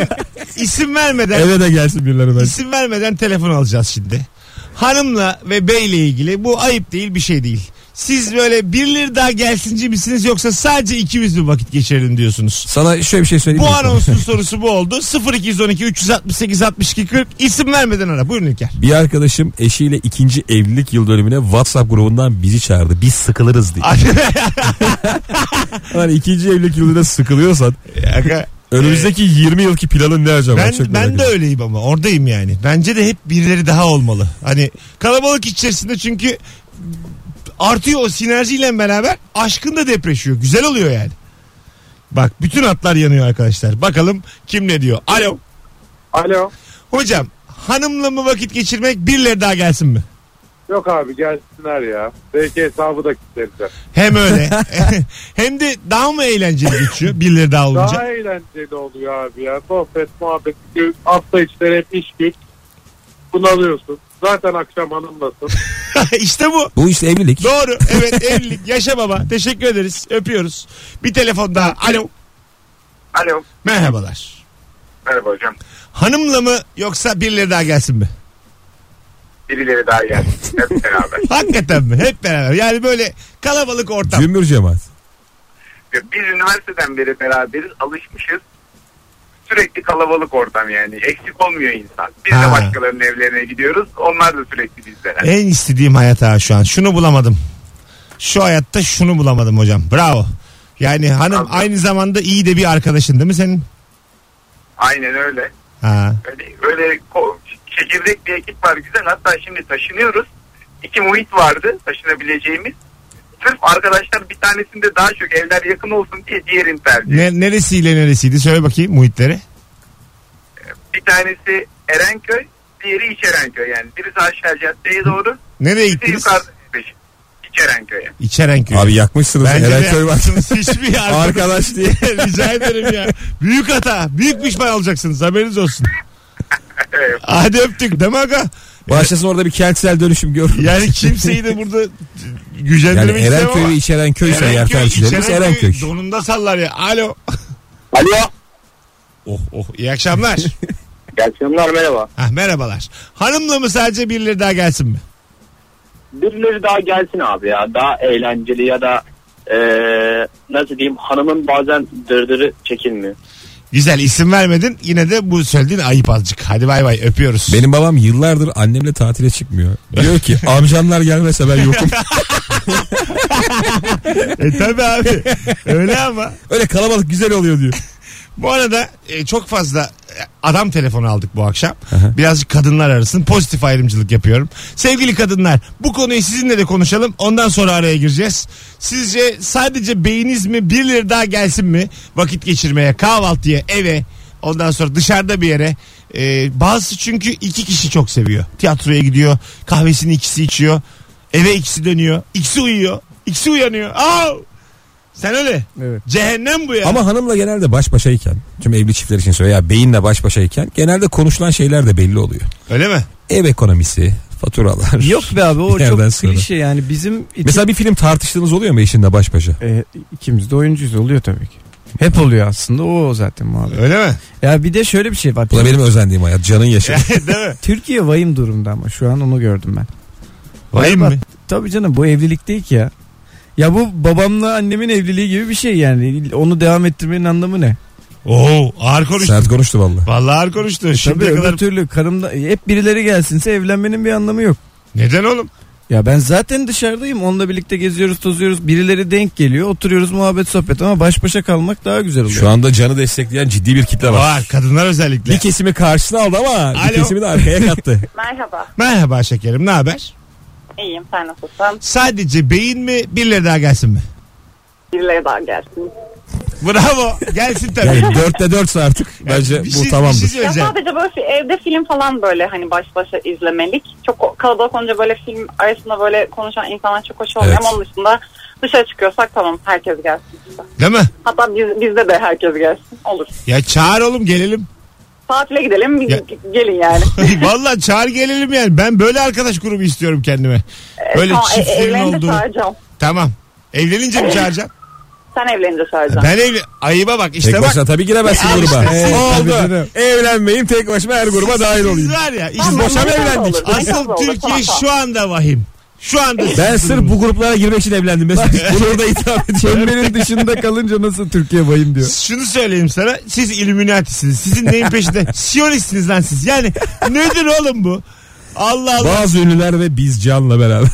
Speaker 2: isim vermeden
Speaker 3: Eve de gelsin birileri ben.
Speaker 2: isim vermeden telefon alacağız şimdi. Hanımla ve beyle ilgili bu ayıp değil bir şey değil. Siz böyle birileri daha gelsinci misiniz yoksa sadece ikimiz mi vakit geçirelim diyorsunuz?
Speaker 3: Sana şöyle bir şey söyleyeyim.
Speaker 2: Bu
Speaker 3: mi?
Speaker 2: anonsun sorusu bu oldu. 0212 368 62 40 isim vermeden ara. Buyurun İlker. <laughs>
Speaker 3: Bir arkadaşım eşiyle ikinci evlilik yıl dönümüne WhatsApp grubundan bizi çağırdı. Biz sıkılırız diye. Hani ikinci evlilik yılında sıkılıyorsan
Speaker 2: Aga,
Speaker 3: önümüzdeki 20 yılki planın ne acaba?
Speaker 2: Ee, ben
Speaker 3: Çok merak
Speaker 2: ben de
Speaker 3: ediyorum.
Speaker 2: öyleyim ama oradayım yani. Bence de hep birileri daha olmalı. Hani kalabalık içerisinde çünkü artıyor o sinerjiyle beraber aşkın da depreşiyor. Güzel oluyor yani. Bak bütün hatlar yanıyor arkadaşlar. Bakalım kim ne diyor. Alo.
Speaker 5: Alo.
Speaker 2: Hocam hanımla mı vakit geçirmek birileri daha gelsin mi?
Speaker 5: Yok abi gelsinler ya. Belki hesabı da kilitleriz.
Speaker 2: Hem
Speaker 3: <laughs>
Speaker 2: öyle <laughs> hem de daha mı eğlenceli geçiyor birileri daha olunca?
Speaker 5: Daha eğlenceli oluyor abi ya. Sohbet, muhabbet. Çünkü Hafta içleri hep iş güç. Bunalıyorsun. Zaten akşam hanımlasın.
Speaker 2: <laughs> işte bu.
Speaker 3: Bu işte evlilik. <laughs>
Speaker 2: Doğru. Evet evlilik. Yaşa baba. Teşekkür ederiz. Öpüyoruz. Bir telefon daha. Alo.
Speaker 5: Alo.
Speaker 2: Merhabalar.
Speaker 5: Merhaba hocam.
Speaker 2: Hanımla mı yoksa birileri daha gelsin
Speaker 3: <laughs>
Speaker 2: mi?
Speaker 5: <laughs> Birileri daha gelsin. Hep beraber.
Speaker 2: Hakikaten mi? Hep beraber. Yani böyle kalabalık ortam.
Speaker 3: Cümbür cemaat.
Speaker 5: Biz üniversiteden beri beraberiz. Alışmışız. Sürekli kalabalık ortam yani. Eksik olmuyor insan. Biz
Speaker 2: Ha.
Speaker 5: de başkalarının evlerine gidiyoruz. Onlar da sürekli bizlere.
Speaker 2: En istediğim hayat ha şu an. Şunu bulamadım. Şu hayatta şunu bulamadım hocam. Bravo. Yani hanım aynı zamanda iyi de bir arkadaşın değil mi senin?
Speaker 5: Aynen öyle.
Speaker 2: Ha.
Speaker 5: Öyle, öyle ko- çekirdek bir ekip var güzel. Hatta şimdi taşınıyoruz. İki muhit vardı taşınabileceğimiz. Sırf arkadaşlar bir tanesinde daha çok evler yakın olsun diye diğerini tercih.
Speaker 2: Ne, neresiyle neresiydi? Söyle bakayım muhitleri.
Speaker 5: Bir tanesi Erenköy, diğeri İç Erenköy. Yani birisi aşağı caddeye doğru,
Speaker 2: Nereye
Speaker 5: birisi
Speaker 2: gittiniz?
Speaker 5: yukarı. İç
Speaker 7: Cerenköy'e.
Speaker 2: İçerenköy.
Speaker 3: Abi yakmışsınız.
Speaker 2: Bence de
Speaker 3: Erenköy var.
Speaker 2: yapmışsınız.
Speaker 3: <laughs>
Speaker 2: Hiçbir yardım-
Speaker 3: Arkadaş
Speaker 2: <laughs>
Speaker 3: diye.
Speaker 2: Rica ederim ya. Büyük hata. Büyük pişman olacaksınız. Haberiniz olsun. Hadi öptük. Değil mi aga?
Speaker 3: Başlasın orada bir kentsel dönüşüm gör.
Speaker 2: Yani kimseyi de burada
Speaker 3: Yani
Speaker 2: gücendirmek istemem
Speaker 3: Erenköy
Speaker 2: ama.
Speaker 3: ve İçeren ise yer
Speaker 2: Erenköy,
Speaker 3: tercihlerimiz
Speaker 2: İçerenköy
Speaker 3: Erenköy.
Speaker 2: Donunda sallar ya. Alo.
Speaker 7: Alo.
Speaker 2: Oh oh. İyi
Speaker 3: <laughs>
Speaker 2: akşamlar.
Speaker 7: İyi akşamlar merhaba.
Speaker 2: Hah, merhabalar. Hanımla mı sadece birileri daha gelsin mi?
Speaker 7: Birileri daha gelsin abi ya. Daha eğlenceli ya da e, nasıl diyeyim hanımın bazen dırdırı çekilmiyor.
Speaker 2: Güzel isim vermedin. Yine de bu söylediğin ayıp azıcık. Hadi bay bay öpüyoruz.
Speaker 3: Benim babam yıllardır annemle tatile çıkmıyor.
Speaker 2: <laughs>
Speaker 3: Diyor ki amcamlar gelmese ben yokum.
Speaker 2: E tabi abi. Öyle ama.
Speaker 3: Öyle kalabalık güzel oluyor diyor.
Speaker 2: Bu arada e, çok fazla e, adam telefonu aldık bu akşam. Birazcık kadınlar arasın. Pozitif ayrımcılık yapıyorum. Sevgili kadınlar bu konuyu sizinle de konuşalım. Ondan sonra araya gireceğiz. Sizce sadece beyiniz mi birileri daha gelsin mi? Vakit geçirmeye, kahvaltıya, eve ondan sonra dışarıda bir yere. E, bazısı çünkü iki kişi çok seviyor. Tiyatroya gidiyor. Kahvesini ikisi içiyor. Eve ikisi dönüyor. ikisi uyuyor. ikisi uyanıyor. Aa! Sen öyle.
Speaker 4: Evet.
Speaker 2: Cehennem bu ya.
Speaker 3: Ama hanımla genelde baş başayken tüm evli çiftler için söylüyor ya beyinle baş başayken genelde konuşulan şeyler de belli oluyor.
Speaker 2: Öyle mi?
Speaker 3: Ev ekonomisi, faturalar.
Speaker 4: Yok be abi o
Speaker 3: Bir yerden
Speaker 4: çok
Speaker 3: sonra.
Speaker 4: klişe yani bizim için...
Speaker 3: Mesela bir film tartıştığınız oluyor mu eşinle baş başa?
Speaker 4: E, ikimiz de oyuncuyuz oluyor tabii ki. Hep oluyor aslında o zaten muhabbet.
Speaker 2: Öyle mi?
Speaker 4: Ya bir de şöyle bir şey var.
Speaker 3: Bu da benim özendiğim hayat. Canın yaşı.
Speaker 2: <laughs> Değil mi?
Speaker 4: Türkiye vahim durumda ama şu an onu gördüm ben.
Speaker 2: Vahim
Speaker 4: Berbat.
Speaker 2: mi?
Speaker 4: Tabii canım bu evlilik değil ki ya. Ya bu babamla annemin evliliği gibi bir şey yani. Onu devam ettirmenin anlamı ne?
Speaker 2: Oo ağır konuştu.
Speaker 3: Sert konuştu valla.
Speaker 2: Vallahi ağır konuştu.
Speaker 3: E,
Speaker 4: Tabii
Speaker 2: Şimdiye
Speaker 4: öbür
Speaker 2: kadar
Speaker 4: türlü karımda hep birileri gelsinse evlenmenin bir anlamı yok.
Speaker 2: neden oğlum?
Speaker 4: Ya ben zaten dışarıdayım. Onunla birlikte geziyoruz, tozuyoruz. Birileri denk geliyor. Oturuyoruz muhabbet sohbet ama baş başa kalmak daha güzel oluyor.
Speaker 3: Şu anda canı destekleyen ciddi bir kitle var.
Speaker 2: Var kadınlar özellikle.
Speaker 3: Bir kesimi karşısına aldı ama
Speaker 2: Alo.
Speaker 3: bir kesimi de arkaya kattı.
Speaker 8: Merhaba.
Speaker 2: Merhaba şekerim ne haber?
Speaker 8: İyiyim sen nasılsın?
Speaker 2: Sadece beyin mi birileri daha gelsin mi?
Speaker 8: Birileri daha gelsin.
Speaker 2: Bravo gelsin tabii. <laughs>
Speaker 3: Yani dörtte dörtse artık bence
Speaker 2: Bir
Speaker 3: bu
Speaker 2: şey-
Speaker 3: tamamdır.
Speaker 2: Bir şey
Speaker 8: Ya
Speaker 2: söyleyeceğim.
Speaker 8: sadece böyle fi- evde film falan böyle hani baş başa izlemelik. Çok o- kalabalık olunca böyle film arasında böyle konuşan insanlar çok hoş olmuyor
Speaker 3: Evet.
Speaker 8: ama onun dışında dışarı çıkıyorsak tamam herkes gelsin. işte.
Speaker 2: Değil mi?
Speaker 8: Hatta biz, bizde de herkes gelsin. Olur.
Speaker 2: Ya çağır oğlum gelelim.
Speaker 8: Tatile gidelim biz
Speaker 2: Ya-
Speaker 8: gelin
Speaker 2: <laughs>
Speaker 8: yani.
Speaker 3: <laughs>
Speaker 2: Valla çağır gelelim yani. Ben böyle arkadaş grubu istiyorum kendime. Böyle
Speaker 8: Tamam, e-
Speaker 2: çiftlerin
Speaker 8: evlenince
Speaker 2: olduğu.
Speaker 8: çağıracağım.
Speaker 2: Tamam. Evlenince mi çağıracaksın?
Speaker 8: Sen evlenince çağıracaksın.
Speaker 2: Ben evli... Ayıba bak işte
Speaker 3: Tek
Speaker 2: bak.
Speaker 3: başına tabii giremezsin gruba. E,
Speaker 2: işte.
Speaker 3: Ne
Speaker 2: Tabii
Speaker 3: oldu? Evlenmeyeyim tek başıma her gruba dahil
Speaker 2: Siz
Speaker 3: olayım.
Speaker 2: var ya. Işte
Speaker 8: Tamam,
Speaker 3: boşa mı
Speaker 8: bana da
Speaker 3: evlendik?
Speaker 8: olur, bana da
Speaker 2: Asıl
Speaker 8: olur.
Speaker 2: Türkiye
Speaker 8: Tamam, tamam.
Speaker 2: şu anda vahim. Şu anda.
Speaker 3: Ben sırf bu gruplara girmek için evlendim. Mesut. Bunu orada itiraf ediyorum.
Speaker 4: Çemberin dışında kalınca nasıl Türkiye vahim diyor.
Speaker 2: Şunu söyleyeyim sana. Siz Illuminati'siniz. Sizin neyin <laughs> peşinde? Siyonistsiniz lan siz. Yani nedir oğlum bu? Allah Allah.
Speaker 3: Bazı ünlüler ve biz Can'la beraber.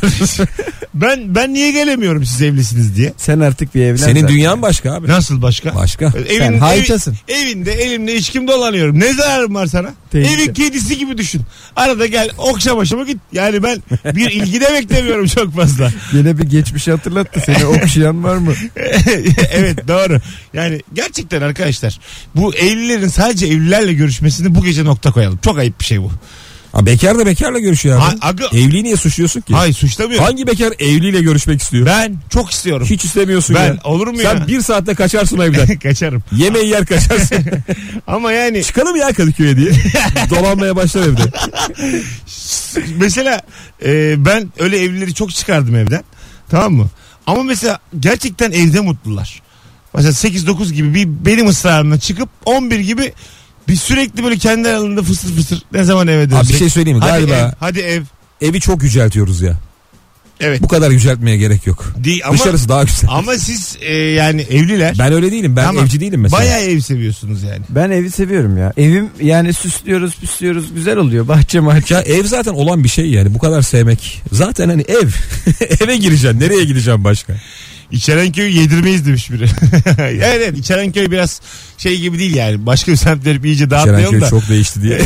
Speaker 2: Ben ben niye gelemiyorum siz evlisiniz diye.
Speaker 4: Sen artık bir evlen.
Speaker 3: Senin
Speaker 4: zaten.
Speaker 3: dünyan başka abi.
Speaker 2: Nasıl başka?
Speaker 3: Başka.
Speaker 4: Sen haytasın.
Speaker 2: evi- evinde elimle içkim dolanıyorum. Ne zararım var sana?
Speaker 4: Tehlike.
Speaker 2: Evin kedisi gibi düşün. Arada gel okşa başıma git. Yani ben bir <laughs> ilgi de beklemiyorum çok fazla.
Speaker 4: Yine bir geçmişi hatırlattı seni okşayan var mı?
Speaker 2: <laughs> evet doğru. Yani gerçekten arkadaşlar bu evlilerin sadece evlilerle görüşmesini bu gece nokta koyalım. Çok ayıp bir şey bu.
Speaker 3: Ha, bekar da bekarla görüşüyor abi.
Speaker 2: Ha- aga-
Speaker 3: Evliliği niye suçluyorsun ki?
Speaker 2: Hayır suçlamıyorum.
Speaker 3: Hangi bekar evliyle görüşmek istiyor?
Speaker 2: Ben çok istiyorum.
Speaker 3: Hiç istemiyorsun
Speaker 2: Ben-
Speaker 3: ya.
Speaker 2: olur mu
Speaker 3: Sen
Speaker 2: ya?
Speaker 3: bir saatte
Speaker 2: <laughs>
Speaker 3: kaçarsın evden.
Speaker 2: Kaçarım.
Speaker 3: Yemeği yer kaçarsın.
Speaker 2: Ama yani
Speaker 3: Çıkalım ya Kadıköy'e diye. Dolanmaya başlar evde.
Speaker 2: mesela e, ben öyle evlileri çok çıkardım evden. Tamam mı? Ama mesela gerçekten evde mutlular. Mesela 8-9 gibi bir benim ısrarımla çıkıp 11 gibi bir sürekli böyle kendi aralarında fısır fısır ne zaman eve dönecek?
Speaker 3: bir şey söyleyeyim mi?
Speaker 2: Hadi
Speaker 3: Galiba-
Speaker 2: Ev, hadi ev.
Speaker 3: Evi çok yüceltiyoruz ya.
Speaker 2: Evet.
Speaker 3: Bu kadar yüceltmeye gerek yok.
Speaker 2: Değil ama,
Speaker 3: Dışarısı daha güzel.
Speaker 2: <laughs> ama siz e, yani evliler.
Speaker 3: Ben öyle değilim. Ben
Speaker 2: Tamam.
Speaker 3: evci değilim mesela.
Speaker 2: Bayağı ev seviyorsunuz yani.
Speaker 4: Ben evi seviyorum ya. Evim yani süslüyoruz püslüyoruz güzel oluyor. Bahçe mahçe.
Speaker 3: Ya ev zaten olan bir şey yani. Bu kadar sevmek. Zaten hani ev. <laughs> Eve gireceksin. Nereye gideceksin başka?
Speaker 2: İçerenköy'ü yedirmeyiz demiş biri. <laughs> evet, evet İçerenköy biraz şey gibi değil yani. Başka bir semt verip iyice dağıtmayalım
Speaker 3: İçerenköy
Speaker 2: da.
Speaker 3: çok
Speaker 2: <laughs>
Speaker 3: değişti diye.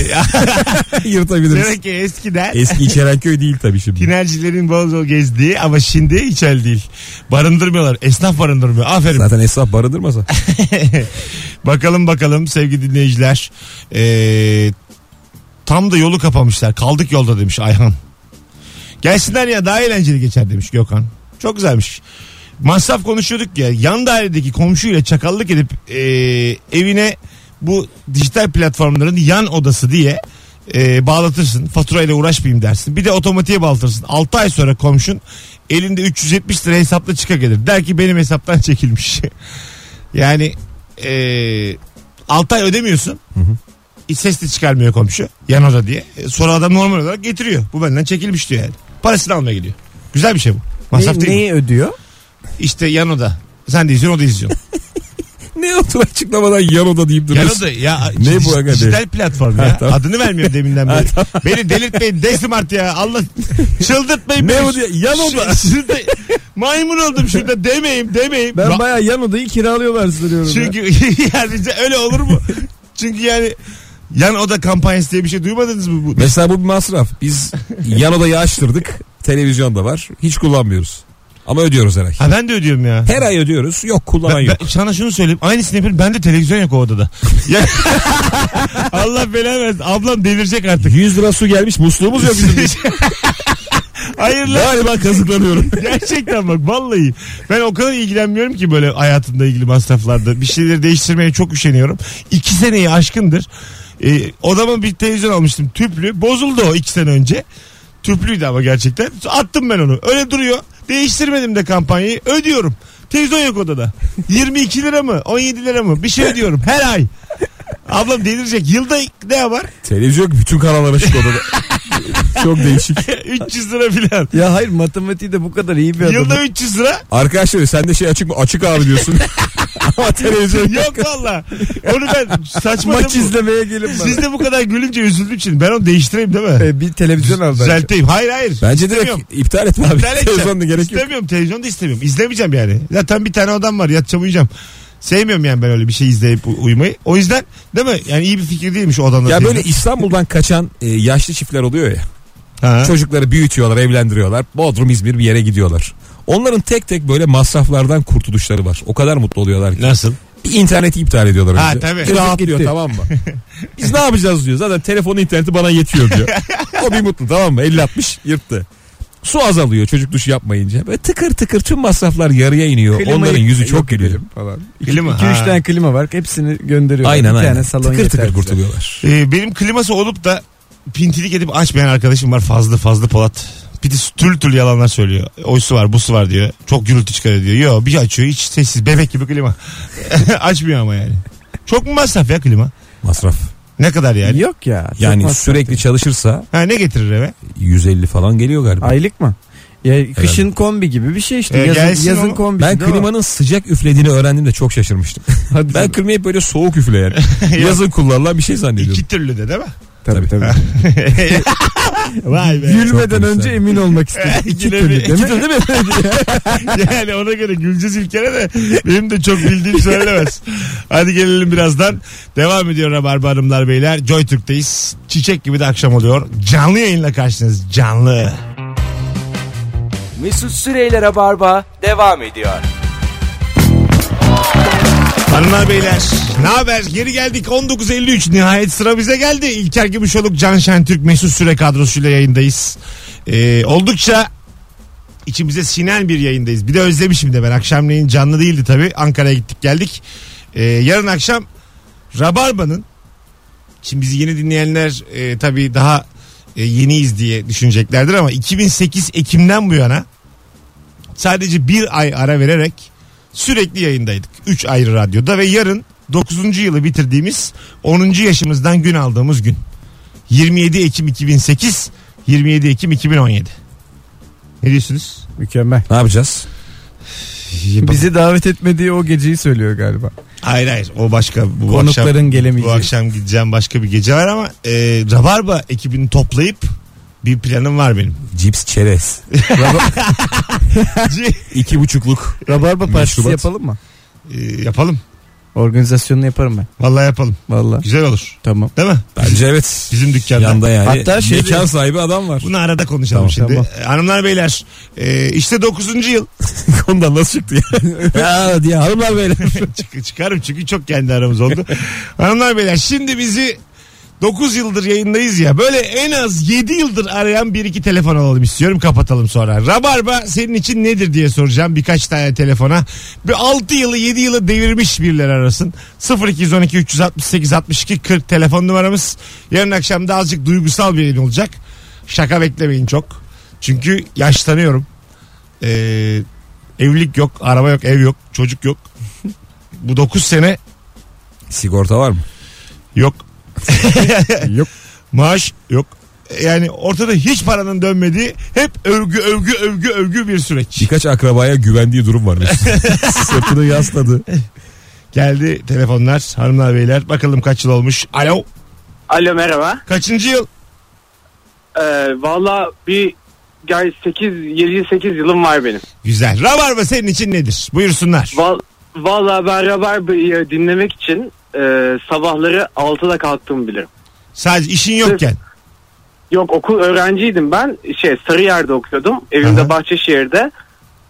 Speaker 3: <laughs> Yırtabiliriz.
Speaker 2: İçerenköy eskiden
Speaker 3: Eski İçerenköy değil tabii şimdi.
Speaker 2: tinercilerin bol bol gezdiği ama şimdi içel değil. Barındırmıyorlar. Esnaf barındırmıyor. Aferin.
Speaker 3: Zaten esnaf
Speaker 2: <laughs>
Speaker 3: barındırmasa.
Speaker 2: Bakalım bakalım sevgili dinleyiciler. Ee, tam da yolu kapamışlar. Kaldık yolda demiş Ayhan. Gelsinler ya daha eğlenceli geçer demiş Gökhan. Çok Çok güzelmiş. Masraf konuşuyorduk ya. Yan dairedeki komşuyla çakallık edip e, evine bu dijital platformların yan odası diye e, bağlatırsın. Faturayla uğraşmayayım dersin. Bir de otomatiğe bağlatırsın. 6 ay sonra komşun elinde 370 lira hesapla çıka gelir. Der ki benim hesaptan çekilmiş. <laughs> yani e, 6 ay ödemiyorsun. Hiç ses de çıkarmıyor komşu. Yan oda diye. E, Sonra adam normal olarak getiriyor. Bu benden çekilmiş diyor yani. Parasını almaya gidiyor. Güzel bir şey bu. Masraf
Speaker 4: Ne-
Speaker 2: değil mi?
Speaker 4: neyi ödüyor?
Speaker 2: İşte yan oda. Sen de izliyorsun o da
Speaker 3: <laughs>
Speaker 2: izliyor.
Speaker 3: Ne otur açıklamadan yan oda deyip
Speaker 2: yan
Speaker 3: duruyorsun.
Speaker 2: oda ya.
Speaker 3: Ne bu aga
Speaker 2: Dijital platform ya.
Speaker 3: <laughs> Ha, tamam.
Speaker 2: Adını vermiyorum deminden
Speaker 3: <laughs>
Speaker 2: beri. Beni delirtmeyin. Desimart ya. Allah çıldırtmayın.
Speaker 3: Ne
Speaker 2: beni.
Speaker 3: bu diye- yan oda.
Speaker 2: Şu- şurada- maymun oldum şurada demeyeyim demeyeyim.
Speaker 4: Ben
Speaker 2: Ra-
Speaker 4: bayağı yan odayı kiralıyorlar sanıyorum.
Speaker 2: Çünkü <laughs> yani bize öyle olur mu? Çünkü yani yan oda kampanyası diye bir şey duymadınız mı? Bu?
Speaker 3: Mesela bu bir masraf.
Speaker 2: <laughs>
Speaker 3: Biz yan odayı açtırdık. Televizyon da var. Hiç kullanmıyoruz. Ama ödüyoruz her ay.
Speaker 2: Ha ben de ödüyorum ya.
Speaker 3: Her ay ödüyoruz. Yok kullanan
Speaker 2: Ben-
Speaker 3: yok.
Speaker 2: ben sana şunu söyleyeyim. Aynısını yapıyorum. Bende televizyon yok o odada. <laughs> Ya- Allah belanı versin. Ablam delirecek artık.
Speaker 3: 100 lira su gelmiş musluğumuz yok bizim. <laughs>
Speaker 2: Hayır lan.
Speaker 3: Galiba kazıklanıyorum.
Speaker 2: <laughs> Gerçekten bak vallahi. Ben o kadar ilgilenmiyorum ki böyle hayatımla ilgili masraflarda. Bir şeyleri değiştirmeye çok üşeniyorum. İki seneyi aşkındır. Ee, odama bir televizyon almıştım tüplü. Bozuldu o iki sene önce. Tüplüydü ama gerçekten. Attım ben onu. Öyle duruyor. Değiştirmedim de kampanyayı. Ödüyorum. Televizyon yok odada. 22 lira mı? 17 lira mı? Bir şey ödüyorum her ay. Ablam delirecek. Yılda ne var? <laughs>
Speaker 3: Televizyon yok, bütün kanallar açık odada. <laughs> Çok değişik.
Speaker 2: 300 lira filan.
Speaker 4: Ya hayır matematiği de bu kadar iyi bir adam.
Speaker 2: Yılda 300
Speaker 3: <laughs>
Speaker 2: lira.
Speaker 3: Arkadaşlar sen de şey açık mı? Açık abi <laughs> diyorsun. Ama televizyon yok.
Speaker 2: Yok valla. Onu ben saçma değil
Speaker 4: Maç
Speaker 2: mi bu?
Speaker 4: izlemeye gelin bana.
Speaker 2: Siz de bu kadar gülünce üzüldüm için. Ben onu değiştireyim değil mi?
Speaker 4: Ee, bir televizyon al bence.
Speaker 2: Düzelteyim. Hayır hayır.
Speaker 3: Bence direkt
Speaker 2: İstemiyorum.
Speaker 3: iptal etme <laughs> abi.
Speaker 2: İptal edeceğim.
Speaker 3: Televizyon da gerek yok.
Speaker 2: İstemiyorum. Televizyon da istemiyorum. İzlemeyeceğim yani. Zaten bir tane odam var. Yatacağım uyuyacağım. Sevmiyorum yani ben öyle bir şey izleyip u- uyumayı. O yüzden değil mi? Yani iyi bir fikir değilmiş o odanda.
Speaker 3: Ya böyle
Speaker 2: televizyon.
Speaker 3: İstanbul'dan kaçan e, yaşlı çiftler oluyor ya.
Speaker 2: Ha.
Speaker 3: Çocukları büyütüyorlar, evlendiriyorlar. Bodrum, İzmir bir yere gidiyorlar. Onların tek tek böyle masraflardan kurtuluşları var. O kadar mutlu oluyorlar ki.
Speaker 2: Nasıl?
Speaker 3: Bir interneti iptal ediyorlar
Speaker 2: Ha,
Speaker 3: önce.
Speaker 2: tabii.
Speaker 3: Bir Rahatlıyor
Speaker 4: Gitti. <laughs>
Speaker 3: tamam mı? Biz ne yapacağız diyor. Zaten telefonu interneti bana yetiyor diyor. o bir mutlu tamam mı? 50-60 yırttı. Su azalıyor çocuk duşu yapmayınca. Böyle tıkır tıkır tüm masraflar yarıya iniyor.
Speaker 4: Klimayı
Speaker 3: Onların yüzü çok
Speaker 4: yok
Speaker 3: gülüyor.
Speaker 4: edelim Falan.
Speaker 2: Klima,
Speaker 4: 2 3
Speaker 2: ha.
Speaker 4: tane klima var. Hepsini gönderiyor.
Speaker 3: Aynen
Speaker 4: bir
Speaker 3: aynen.
Speaker 4: Tane salon
Speaker 3: tıkır
Speaker 4: yeter
Speaker 3: tıkır
Speaker 4: bize.
Speaker 3: kurtuluyorlar.
Speaker 2: Ee, benim kliması olup da pintilik edip açmayan arkadaşım var fazla fazla Polat. Bir de tül tül yalanlar söylüyor. Oysu var, busu var diyor. Çok gürültü çıkarıyor diyor. Yo bir açıyor hiç sessiz bebek gibi klima. <laughs> Açmıyor ama yani. Çok mu masraf ya klima?
Speaker 3: Masraf.
Speaker 2: Ne kadar yani?
Speaker 4: Yok ya. çok
Speaker 3: Yani
Speaker 4: masraf
Speaker 3: sürekli
Speaker 4: değil.
Speaker 3: çalışırsa
Speaker 2: Ha, ne getirir eve?
Speaker 3: 150 falan geliyor galiba.
Speaker 4: Aylık mı? Ya kışın kombi gibi bir şey işte.
Speaker 2: E,
Speaker 4: yazın
Speaker 2: gelsin
Speaker 4: yazın
Speaker 2: o-
Speaker 4: kombi.
Speaker 3: Ben
Speaker 4: <laughs>
Speaker 3: klimanın sıcak üflediğini öğrendim de çok şaşırmıştım.
Speaker 4: Hadi
Speaker 3: ben
Speaker 4: canım.
Speaker 3: klimayı böyle soğuk
Speaker 4: <laughs>
Speaker 3: üfleyen, yazın kullanılan bir şey zannediyorum.
Speaker 2: İki türlü de değil mi? <laughs>
Speaker 4: tabii tabii.
Speaker 2: Vay be.
Speaker 4: Gülmeden
Speaker 3: Çok
Speaker 4: önce
Speaker 3: güzel.
Speaker 4: emin
Speaker 2: <laughs>
Speaker 4: olmak istedim. İki
Speaker 2: Yine
Speaker 4: türlü
Speaker 2: bir-
Speaker 4: değil mi?
Speaker 2: İki yani ona göre güleceğiz ilk kere de benim de çok bildiğim söylemez. Hadi gelelim birazdan. Devam ediyor Rabarba Hanımlar Beyler. Joy Türk'teyiz. Çiçek gibi de akşam oluyor. Canlı yayınla karşınız. Canlı.
Speaker 1: Mesut Süreyler'e barba devam ediyor.
Speaker 2: Hanımlar beyler ne haber? Geri geldik 19.53 nihayet sıra bize geldi. İlker Gümüşoluk, Can Şentürk, Mesut Süre kadrosuyla yayındayız. Ee, oldukça içimize sinen bir yayındayız. Bir de özlemişim de ben akşamleyin canlı değildi tabii. Ankara'ya gittik geldik. Ee, yarın akşam Rabarba'nın şimdi bizi yeni dinleyenler e, tabii daha e, yeniyiz diye düşüneceklerdir ama 2008 Ekim'den bu yana sadece bir ay ara vererek sürekli yayındaydık. 3 ayrı radyoda ve yarın 9. yılı bitirdiğimiz 10. yaşımızdan gün aldığımız gün. 27 Ekim 2008, 27 Ekim 2017. Ne diyorsunuz?
Speaker 4: Mükemmel.
Speaker 3: Ne yapacağız?
Speaker 4: Bizi davet etmediği o geceyi söylüyor galiba.
Speaker 2: Hayır hayır o başka bu
Speaker 4: Konukların
Speaker 2: akşam,
Speaker 4: gelemeyeceği.
Speaker 2: Bu akşam gideceğim başka bir gece var ama e, Rabarba ekibini toplayıp bir planım var
Speaker 3: <laughs>
Speaker 2: benim.
Speaker 3: Cips çerez. İki buçukluk.
Speaker 4: Rabarba partisi
Speaker 3: Meşrubat.
Speaker 4: yapalım mı?
Speaker 2: E, yapalım.
Speaker 4: Organizasyonunu yaparım ben.
Speaker 2: Vallahi yapalım.
Speaker 4: Valla.
Speaker 2: Güzel olur.
Speaker 4: Tamam.
Speaker 2: Değil mi?
Speaker 3: Bence evet.
Speaker 2: Bizim dükkanda.
Speaker 3: Yanda yani.
Speaker 4: Hatta şey-
Speaker 3: Mekan sahibi
Speaker 4: <laughs>
Speaker 3: adam var.
Speaker 2: Bunu arada konuşalım
Speaker 3: Tamam,
Speaker 2: şimdi.
Speaker 4: tamam.
Speaker 2: E, Hanımlar beyler e, işte 9. yıl.
Speaker 3: Ondan nasıl çıktı ya? ya
Speaker 2: <laughs>
Speaker 3: diye
Speaker 4: <laughs>
Speaker 3: hanımlar böyle.
Speaker 2: Çık- çıkarım çünkü çok kendi aramız oldu. Hanımlar beyler şimdi bizi 9 yıldır yayındayız ya. Böyle en az 7 yıldır arayan bir iki telefon alalım istiyorum. Kapatalım sonra. Rabarba senin için nedir diye soracağım birkaç tane telefona. Bir 6 yılı 7 yılı devirmiş birileri arasın. 0212 368 62 40 telefon numaramız. Yarın akşam da azıcık duygusal bir yayın olacak. Şaka beklemeyin çok. Çünkü yaşlanıyorum. Ee, evlilik yok, araba yok, ev yok, çocuk yok. Bu 9 sene
Speaker 3: Sigorta var mı? <laughs>
Speaker 2: yok.
Speaker 3: Yok.
Speaker 2: Maaş yok. Yani ortada hiç paranın dönmediği hep övgü övgü övgü övgü bir süreç.
Speaker 3: Birkaç akrabaya güvendiği durum <laughs> var. Sırtını yasladı.
Speaker 2: Geldi telefonlar hanımlar beyler bakalım kaç yıl olmuş. Alo
Speaker 5: Alo merhaba.
Speaker 2: kaçıncı yıl?
Speaker 5: Ee, Valla bir gay 8 7 8 yılım var benim.
Speaker 2: Güzel. Rabarba senin için nedir? Buyursunlar.
Speaker 5: Val, Valla ben Rabarbay'ı dinlemek için e, sabahları 6'da kalktığımı bilirim.
Speaker 2: Sadece işin yokken.
Speaker 5: Yok okul öğrenciydim ben. Şey Sarıyer'de okuyordum. Evimde
Speaker 2: Aha.
Speaker 5: Bahçeşehir'de.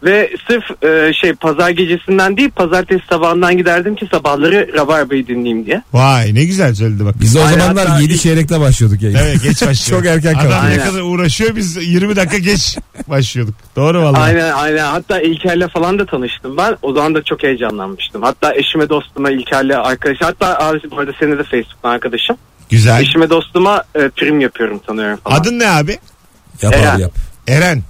Speaker 5: Ve sırf e, şey pazar gecesinden değil pazartesi sabahından giderdim ki sabahları Rabarbay'ı dinleyeyim diye.
Speaker 2: Vay ne güzel söyledi bak.
Speaker 3: Biz o
Speaker 5: Aynen,
Speaker 3: zamanlar
Speaker 5: hatta
Speaker 3: 7 çeyrekte başlıyorduk yayına.
Speaker 2: Evet
Speaker 3: <laughs>
Speaker 2: geç başlıyor.
Speaker 3: Çok erken kalktı.
Speaker 2: Adam ne
Speaker 5: Aynen.
Speaker 2: kadar uğraşıyor biz 20 dakika geç başlıyorduk. Doğru vallahi.
Speaker 5: Aynen aynen. Hatta İlker'le falan da tanıştım ben. O zaman da çok heyecanlanmıştım. Hatta eşime dostuma İlker'le arkadaş. Hatta abi bu arada seni de Facebook'tan arkadaşım.
Speaker 2: Güzel.
Speaker 5: Eşime dostuma e, prim yapıyorum tanıyorum falan.
Speaker 2: Adın ne abi?
Speaker 3: Yap
Speaker 5: Eren.
Speaker 3: abi yap.
Speaker 2: Eren.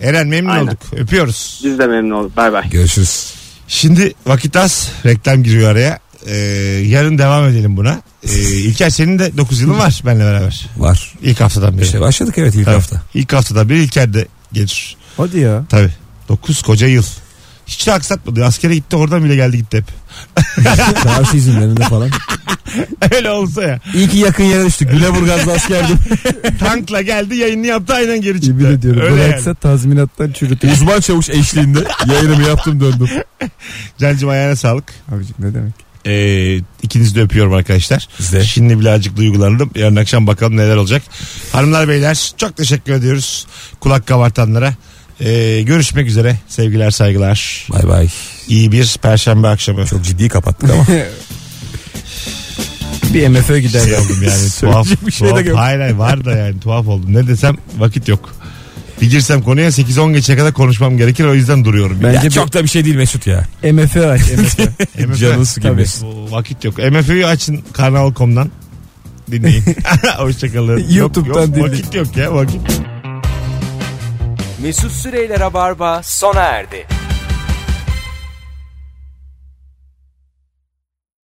Speaker 2: Eren memnun
Speaker 5: Aynen.
Speaker 2: olduk. Öpüyoruz.
Speaker 5: Biz de memnun olduk. Bay bay.
Speaker 3: Görüşürüz.
Speaker 2: Şimdi vakit az. Reklam giriyor araya. Ee, yarın devam edelim buna. Ee, İlker senin de 9 yılın var benimle beraber.
Speaker 3: Var.
Speaker 2: İlk haftadan beri.
Speaker 3: İşte başladık evet ilk
Speaker 2: Tabii.
Speaker 3: hafta.
Speaker 2: İlk haftadan beri İlker de gelir.
Speaker 4: Hadi ya.
Speaker 2: Tabii. 9 koca yıl. Hiç de aksatmadı. Askere gitti oradan bile geldi gitti hep. <laughs>
Speaker 3: Çarşı izinlerinde falan.
Speaker 2: Öyle olsa ya.
Speaker 3: İyi ki yakın yere düştük. Güleburgaz'da askerdim.
Speaker 2: Tankla geldi yayını yaptı aynen geri çıktı.
Speaker 4: Yemin ediyorum.
Speaker 2: Öyle yani.
Speaker 4: Bıraksa tazminattan
Speaker 3: <laughs>
Speaker 4: çürütür.
Speaker 3: Uzman çavuş eşliğinde yayınımı yaptım döndüm.
Speaker 2: Cancım ayağına sağlık.
Speaker 4: Abicim ne demek?
Speaker 2: Ee, ikinizi de öpüyorum arkadaşlar.
Speaker 3: Biz de.
Speaker 2: Şimdi birazcık duygulandım. Yarın akşam bakalım neler olacak. Hanımlar beyler çok teşekkür ediyoruz kulak kabartanlara. Ee, görüşmek üzere sevgiler saygılar.
Speaker 3: Bay bay.
Speaker 2: İyi bir perşembe akşamı.
Speaker 3: Çok ciddi kapattık <laughs> ama.
Speaker 4: Bir MF'e gider
Speaker 2: Şey <laughs> oldum yani tuhaf.
Speaker 3: <laughs> Söyleyecek bir şey de
Speaker 2: tuhaf.
Speaker 3: yok.
Speaker 2: Hayır hayır var da yani tuhaf oldum. Ne desem vakit yok. Bir girsem konuya 8-10 geçe kadar konuşmam gerekir o yüzden duruyorum.
Speaker 4: Bence
Speaker 3: Ya çok da bir şey değil Mesut ya.
Speaker 4: bir MF'e aç MF'e. <laughs>
Speaker 2: MFÖ.
Speaker 3: Canın su gibi.
Speaker 4: Tabii.
Speaker 2: Bu Vakit yok. MFÖ'yü açın kanal.com'dan
Speaker 3: <laughs>
Speaker 2: dinleyin. <laughs> Hoşçakalın. Yok,
Speaker 4: YouTube'dan
Speaker 2: yok,
Speaker 4: dinleyin.
Speaker 2: Vakit yok ya vakit.
Speaker 1: Mesut Süreyler'e barba sona erdi.